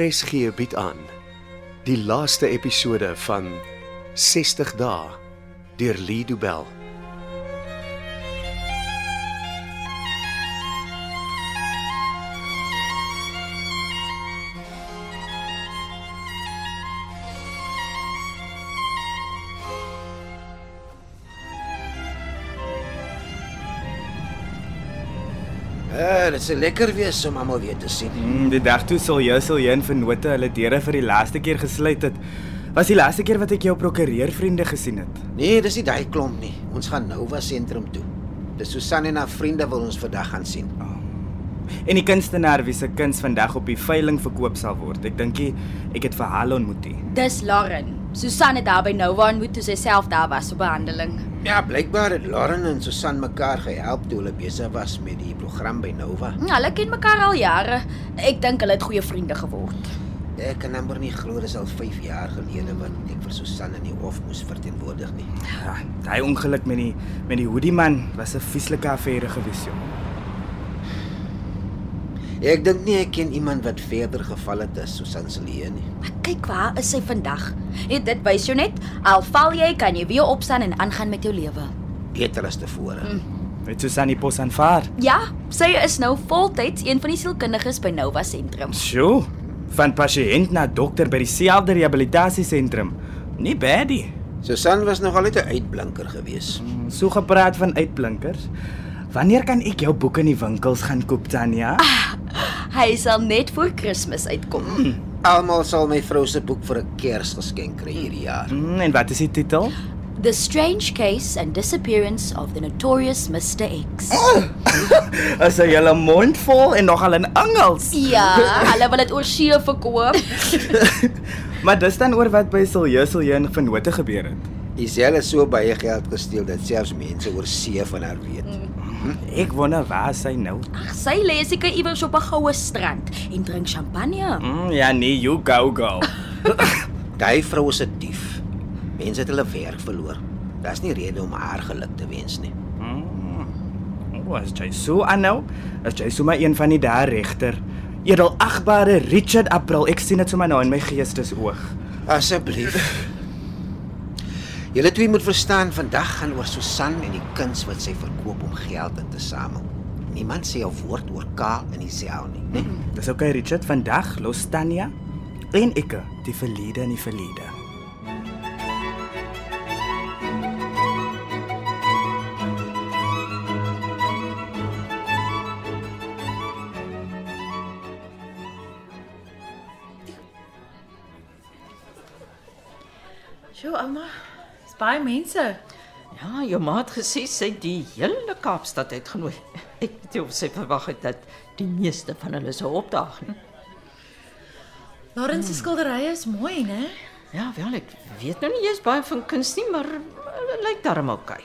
RSG bied aan die laaste episode van 60 dae deur Lido Bell. Ja, dit sal lekker wees om almal weer te sien. Mm, die dag toe sal jy sal jy en vennote hulle deure vir die laaste keer gesluit het. Was die laaste keer wat ek jou prokureurvriende gesien het. Nee, dis nie daai klomp nie. Ons gaan Nova sentrum toe. Dis Susan en haar vriende wil ons vandag gaan sien. En die kunstenaar wie se kuns vandag op die veiling verkoop sal word. Ek dink nie ek het vir haar ontmoet nie. Dis Lauren. Susan het haar by nou Nova ontmoet toe sy self daar was vir behandeling. Ja, blykbaar het Lauren en Susan mekaar gehelp toe hulle besig was met die program by Nova. Hm, Hulle ken mekaar al jare. Ek dink hulle het goeie vriende geword. Ek kan amper nie glo dis al 5 jaar gelede wat ek vir Susan in die hof moes verteenwoordig nie. Ja, daai ongeluk met die met die hoodie man was 'n vieslike affære gewees, joh. Ek dink nie ek ken iemand wat verder geval het as Susan se lewe nie. Maar kyk waar is sy vandag? Het dit wys jou net al val jy kan jy weer opstaan en aangaan met jou lewe. Beter as tevore. Mm. Het Susan die pos aanvaar? Ja, sy is nou voltyds een van die sielkundiges by Nova sentrum. Sjoe. Van pasiënt na dokter by dieselfde rehabilitasiesentrum. Nie bad nie. Mm, Susan was nog altyd 'n uitblinker gewees. So gepraat van uitblinkers. Wanneer kan ek jou boeke in die winkels gaan koop, Tanya? Hy sal net voor Kersfees uitkom. Almal sal my vrou se boek vir 'n Kersgeskenk kry hierdie jaar. Mm, en wat is die titel? The Strange Case and Disappearance of the Notorious Mr X. As jy julle mond vol en nogal in Engels. Ja, hulle wil dit oor see verkoop. Maar dis dan oor wat by Silje Silje en Vennote gebeur het. Isel het so baie geld gesteel dat selfs mense oor see van haar weet. Mm. Ek wonder waar sy nou. Ag, sy lê seker iewers op 'n goue strand en drink champagne. Mm, ja nee, you go go. Daai vrou is 'n dief. Mense het hulle werk verloor. Daar's nie rede om haar geluk te wens nie. O, as jy so aanhou, as jy sommer een van die daar regter, edelagbare Richard April, ek sien dit sommer nou in my geestesoog. Asseblief. Julle twee moet verstaan, vandag gaan oor Susan en die kuns wat sy verkoop om geld in te samel. Niemand sê 'n woord oor K in die sel nie, né? Mm. Dis okay Richard, vandag los Tanya en ek die verlede in die verlede. Sjoe, ouma. Dis baie mense. Ja, jou ma het gesê sy het die hele Kaapstad uitgenooi. Ek weet nie of sy verwag het dat die meeste van hulle sou opdaag nie. Lawrence se skilderye is mooi, né? Ja, wel ek weet nou nie eers baie van kuns nie, maar hulle lyk darm okay.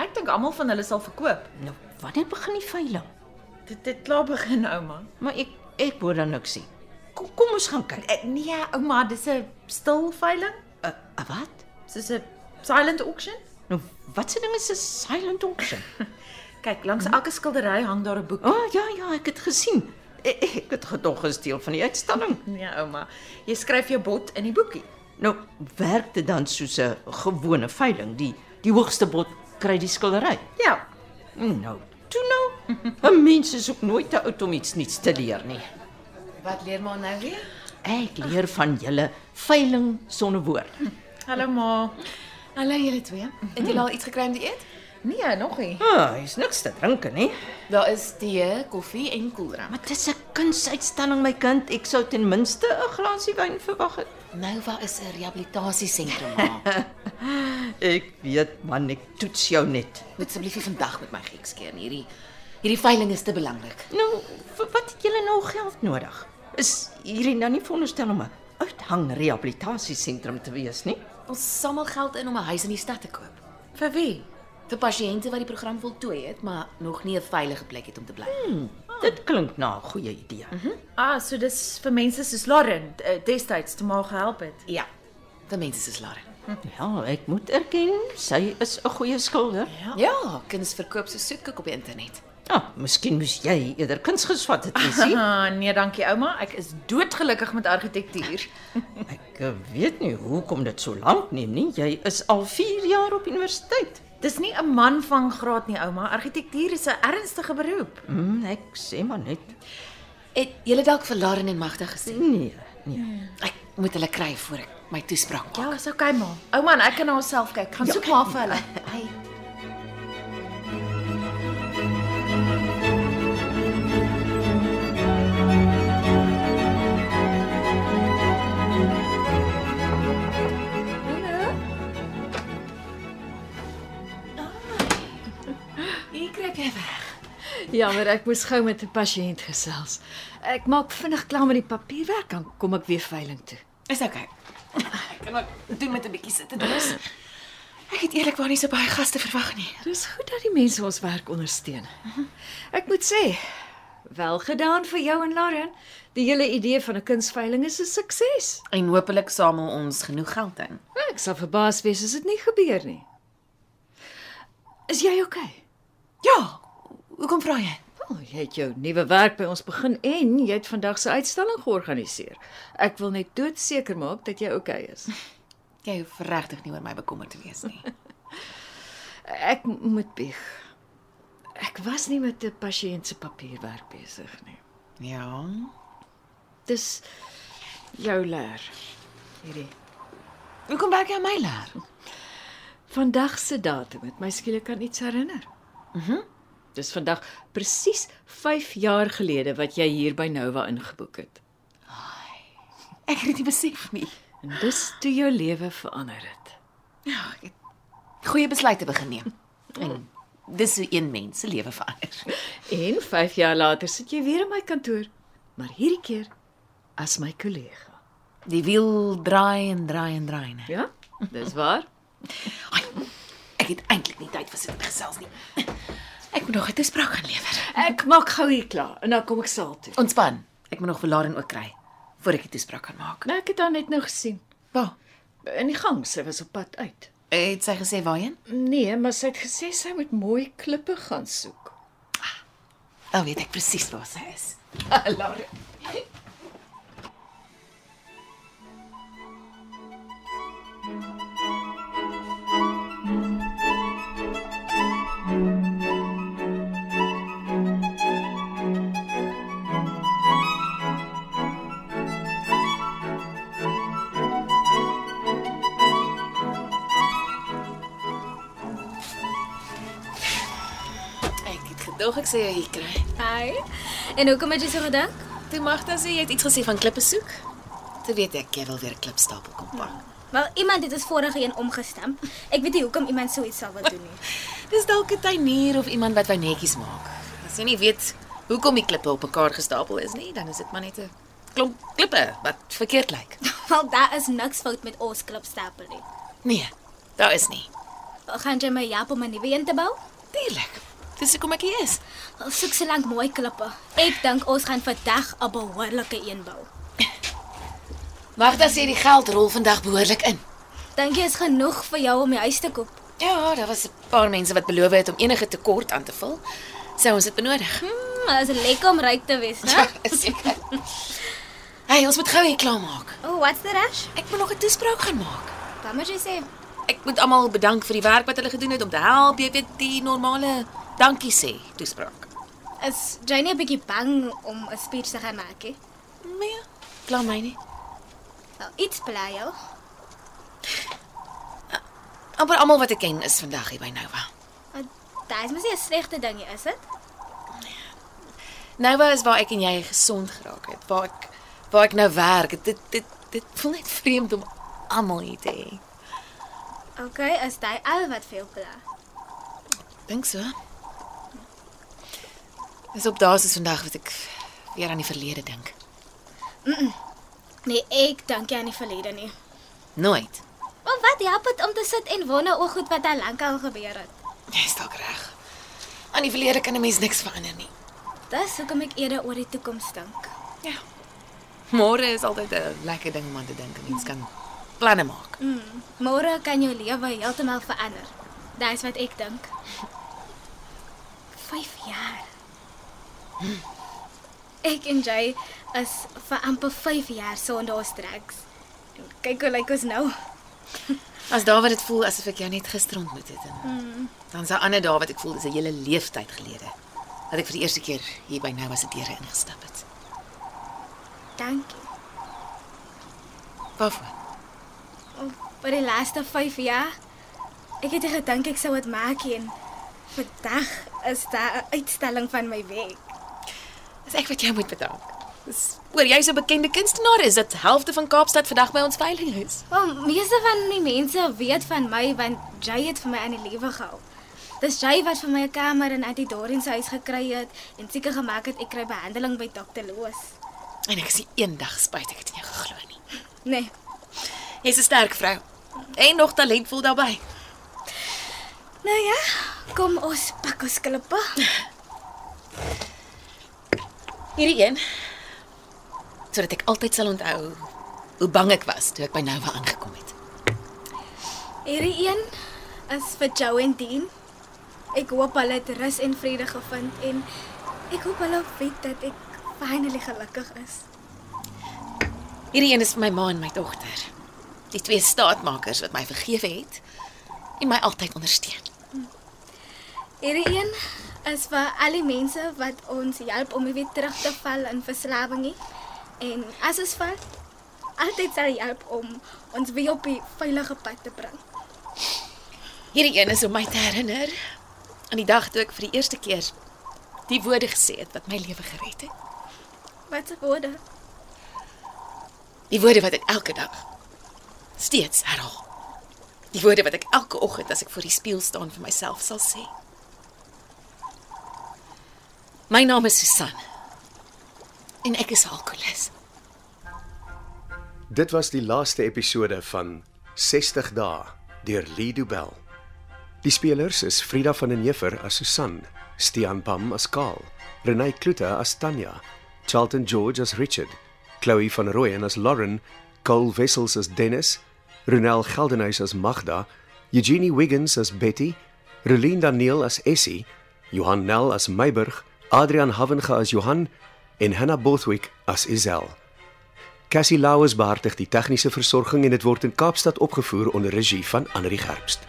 Ek dink almal van hulle sal verkoop. Nou, wanneer begin die veiling? Dit dit klaar begin, ouma. Maar ek ek hoor dan niks nie. Kom, kom ons gaan kyk. Eh, Nee, ouma, dis 'n stil veiling, Uh, uh, wat? soos 'n silent auction. Nou, wat se ding is 'n silent auction? Kyk, langs elke skildery hang daar 'n boek. O, oh, ja ja, ek het gesien. Ek, ek het gedog is deel van die uitstalling. Nee, ouma. Jy skryf jou bod in die boekie. Nou, werk dit dan soos 'n gewone veiling. Die die hoogste bod kry die skildery. Ja. Nou, toe nou. 'n Mens is ook nooit te oud om iets nuuts te leer nie. Wat leer maar nou weer? Ek leer van julle veiling sonder woord. Hallo ma. Hallo julle twee. Het julle al iets gekry om te eet? Nee, nog nie. Ah, oh, is niks te drinke nie. Daar is tee, koffie en koeldrank. Maar dis 'n kunsuitstalling my kind. Ek sou ten minste 'n glasie wyn verwag het. Nou, Nova is 'n rehabilitasiesentrum maar. Ek weet man, ek toets jou net. Moet asseblief nie vandag met my geks keer nie. Hierdie hierdie veiling is te belangrik. Nou, vir wat het julle nou geld nodig? Is hierdie nou nie veronderstel om 'n uithang rehabilitasiesentrum te wees nie? Ons samel geld in om 'n huis in die stad te koop Vir wie? vir pasiënte wat die program voltooi het, maar nog nie 'n veilige plek het om te bly. Hmm. Dit klink na 'n goeie idee. Ah, so dis vir mense soos Lauren eh, destyds toe maar gehelp het. Ja. Vir mense soos Lauren. Ja, ek moet erken, sy is 'n goeie skilder. Ja, kuns verkoop so soetkoek op die internet. Ah, miskien moes jy eerder kuns gesvat het, Essie. Ah, nee, dankie ouma. Ek is doodgelukkig met argitektuur. Ek eh, weet nie hoekom dit so lank neem nie. Jy is al 4 jaar op universiteit. Dis nie 'n man van graad nie, ouma. Argitektuur is 'n ernstige beroep. Mm, ek sê maar net. Het julle dalk vir Lauren en Magda gesien? Nee, nee. Hmm. Ek moet hulle kry voor ek my toespraak maak. Ja, is okay, ma. Ouma, en ek kan na onsself kyk. Gaan soek maar vir hulle. Hey. Hier kry ek even. Jammer, ek moes gou met 'n pasiënt gesels. Ek maak vinnig klaar met die papierwerk en kom ek weer veiling toe. Is okay. Ek kan ook doen met 'n bietjie sit en rus. Ek het eerlikwaar nie so baie gaste verwag nie. Dis goed dat die mense ons werk ondersteun. Ek moet sê, wel gedaan vir jou en Lauren. Die hele idee van 'n kunsveiling is 'n sukses. En hopelik samel ons genoeg geld in. Ek sal verbaas wees as dit nie gebeur nie. Is jy oukei? Okay? Ja. Hoekom vra jy? Wel, jy het jou nuwe werk by ons begin en jy het vandag se uitstalling georganiseer. Ek wil net doodseker maak dat jy oukei okay is. Jy hoef regtig nie oor my bekommerd te wees nie. Ek m- moet bieg. Ek was nie met 'n pasiënt se papierwerk besig nie. Ja. Dis jou leer hierdie. Hoekom werk jy aan my leer? Vandag se datum het my skielik kan iets herinner. Mhm. Dis vandag presies 5 jaar gelede wat jy hier by Nova ingeboek het. Ek het dit nie besef nie. En dis toe jou lewe verander het. Ja, ek het goeie besluite begin neem. En dis hoe een mens se lewe verander. En 5 jaar later sit jy weer in my kantoor, maar hierdie keer as my kollega. Die wiel draai en draai en draai. Nee. Ja? Dis waar. Ai, ek het eintlik nie tyd vir sit en gesels nie. Ek moet nog 'n toespraak gaan lewer. Ek maak gou hier klaar en dan kom ek saal toe. Ontspan. Ek moet nog vir Lauren ook kry voor ek die toespraak kan maak. Nou ek het haar net nou gesien. Waar? In die gang, sy was op pad uit. Het sy gesê waarheen? Nee, maar sy het gesê sy moet mooi klippe gaan soek. Nou weet ek presies waar sy is. Lauren. Ek het gedog ek sê jy hier kry. Hi. En hoekom het jy so gedink? Toe Magda sê jy het iets gesê van klippe soek. Toe weet ek jy wil weer 'n klipstapel kom pak. Wel, iemand het ons vorige een omgestamp. Ek weet nie hoekom iemand so iets sal wil doen nie. Dis dalk 'n tuinier of iemand wat wou netjies maak. As jy nie weet hoekom die klippe op mekaar gestapel is nie, dan is dit maar net 'n klomp klippe wat verkeerd lyk. Wel, daar is niks fout met ons klipstapel nie. Nee, daar is nie. Wel, gaan jy my help om 'n nuwe een te bou? Tuurlik. Dis hoekom ek hier is. Wel, soek so lank mooi klippe. Ek dink ons gaan vandag 'n behoorlike een bou. Magda sê die geld rol vandag behoorlik in. Dink jy is genoeg vir jou om die huis te koop? Ja, daar was 'n paar mense wat beloof het om enige tekort aan te vul. Sou ons dit benodig? Maar dit Hmm, is lekker om ryk te wees, né? is seker. Ja, Hey, ons moet gou hier klaarmaak. Oh, what's the rush? Ek moet nog 'n toespraak gaan maak. Wat moet jy sê? Ek moet almal bedank vir die werk wat hulle gedoen het om te help, jy weet die normale dankie sê toespraak. Is jy nie 'n bietjie bang om 'n speech te gaan maak nie? Nee, pla my nie. Wel, iets bly jou. amper almal wat ek ken is vandag hier by Nova. Want Dit is mos nie 'n slegte ding nie, is dit? Nova is waar ek en jy gesond geraak het, waar ek waar ek nou werk. Dit dit dit voel net vreemd om almal hier te hê. OK, is dit al wat veel pla. Dink so. Dis op daas is vandag wat ek weer aan die verlede dink. Nee, ek dink jy aan die verlede nee. nie. Nooit. Maar wat help dit om te sit en wonder oor goed wat al lank al gebeur het? Jy's dalk reg. Aan die verlede kan 'n mens niks verander nie. Dis hoekom ek eerder oor die toekoms dink. Ja. Môre is altyd 'n lekker ding om aan te dink. 'n Mens kan planne maak. Mm, môre kan jou lewe heeltemal verander. Dis wat ek dink. 5 jaar. Ek en Jay is vir amper 5 jaar sonder ons treks. Kyk hoe lyk ons nou. As daar wat dit voel asof ek jou net gister ontmoet het en Mm. dan se ander dae wat ek voel dis 'n hele leeftyd gelede dat ek vir die eerste keer hier by nou as 'n deure ingestap het. Dankie. Waarvoor? Oh, vir die laaste 5 jaar ek het nie gedink ek sou dit maak nie. en Vandag is daar 'n uitstalling van my werk. Dis ek wat jou moet bedank. Dis oor jy's 'n bekende kunstenaar is dat helfte van Kaapstad vandag by ons veiling is. Wel, meeste van die mense weet van my want Jay het vir my aan die lewe gehelp. Dis Jay wat vir my 'n kamer in Auntie Dorien se huis gekry het en seker gemaak het ek kry behandeling by dokter Loos. En ek is nie eendag spyt ek het in jou geglo nie. Nee, Jy's 'n sterk vrou en nog talentvol daarbey. nou ja, kom ons pak ons klippe. Hierdie een sodat ek altyd sal onthou hoe bang ek was toe ek by Nova aangekom het. Hierdie een is vir Joe en Dean. Ek hoop hulle het rus en vrede gevind en ek hoop hulle weet dat ek finally gelukkig is. Hierdie een is vir my ma en my dogter. Die twee staatmakers wat my vergewe het en my altyd ondersteun. Hierdie een is vir al die mense wat ons help om nie weer terug te val in verslawing nie. En as ons val, altyd sal hy help om ons weer op die veilige pad te bring. Hierdie een is om my te herinner aan die dag toe ek vir die eerste keer die woorde gesê het wat my lewe gered het. Wat se woorde? Die woorde wat ek elke dag steeds herhaal. Die woorde wat ek elke oggend as ek voor die spieël staan vir myself sal sê. My naam is Susan en ek is alkoholist. Dit was die laaste episode van 60 dae deur Lido Bell. Die spelers is Frida van den Heever as Susan, Stian Pam as Karl, Renai Klute as Tanya, Charlton George as Richard, Chloe van Rooyen as Lauren, Cole Wessels as Dennis, Ronel Geldenhuys as Magda, Eugenie Wiggins as Betty, Relien Daniel as Essie, Johan Nel as Meiburg, Adrian Havenga as Johan en Hannah Bothwick as Isel. Cassie Lauers behartig die tegniese versorging en dit word in Kaapstad opgevoer onder regie van Anri Gerbst.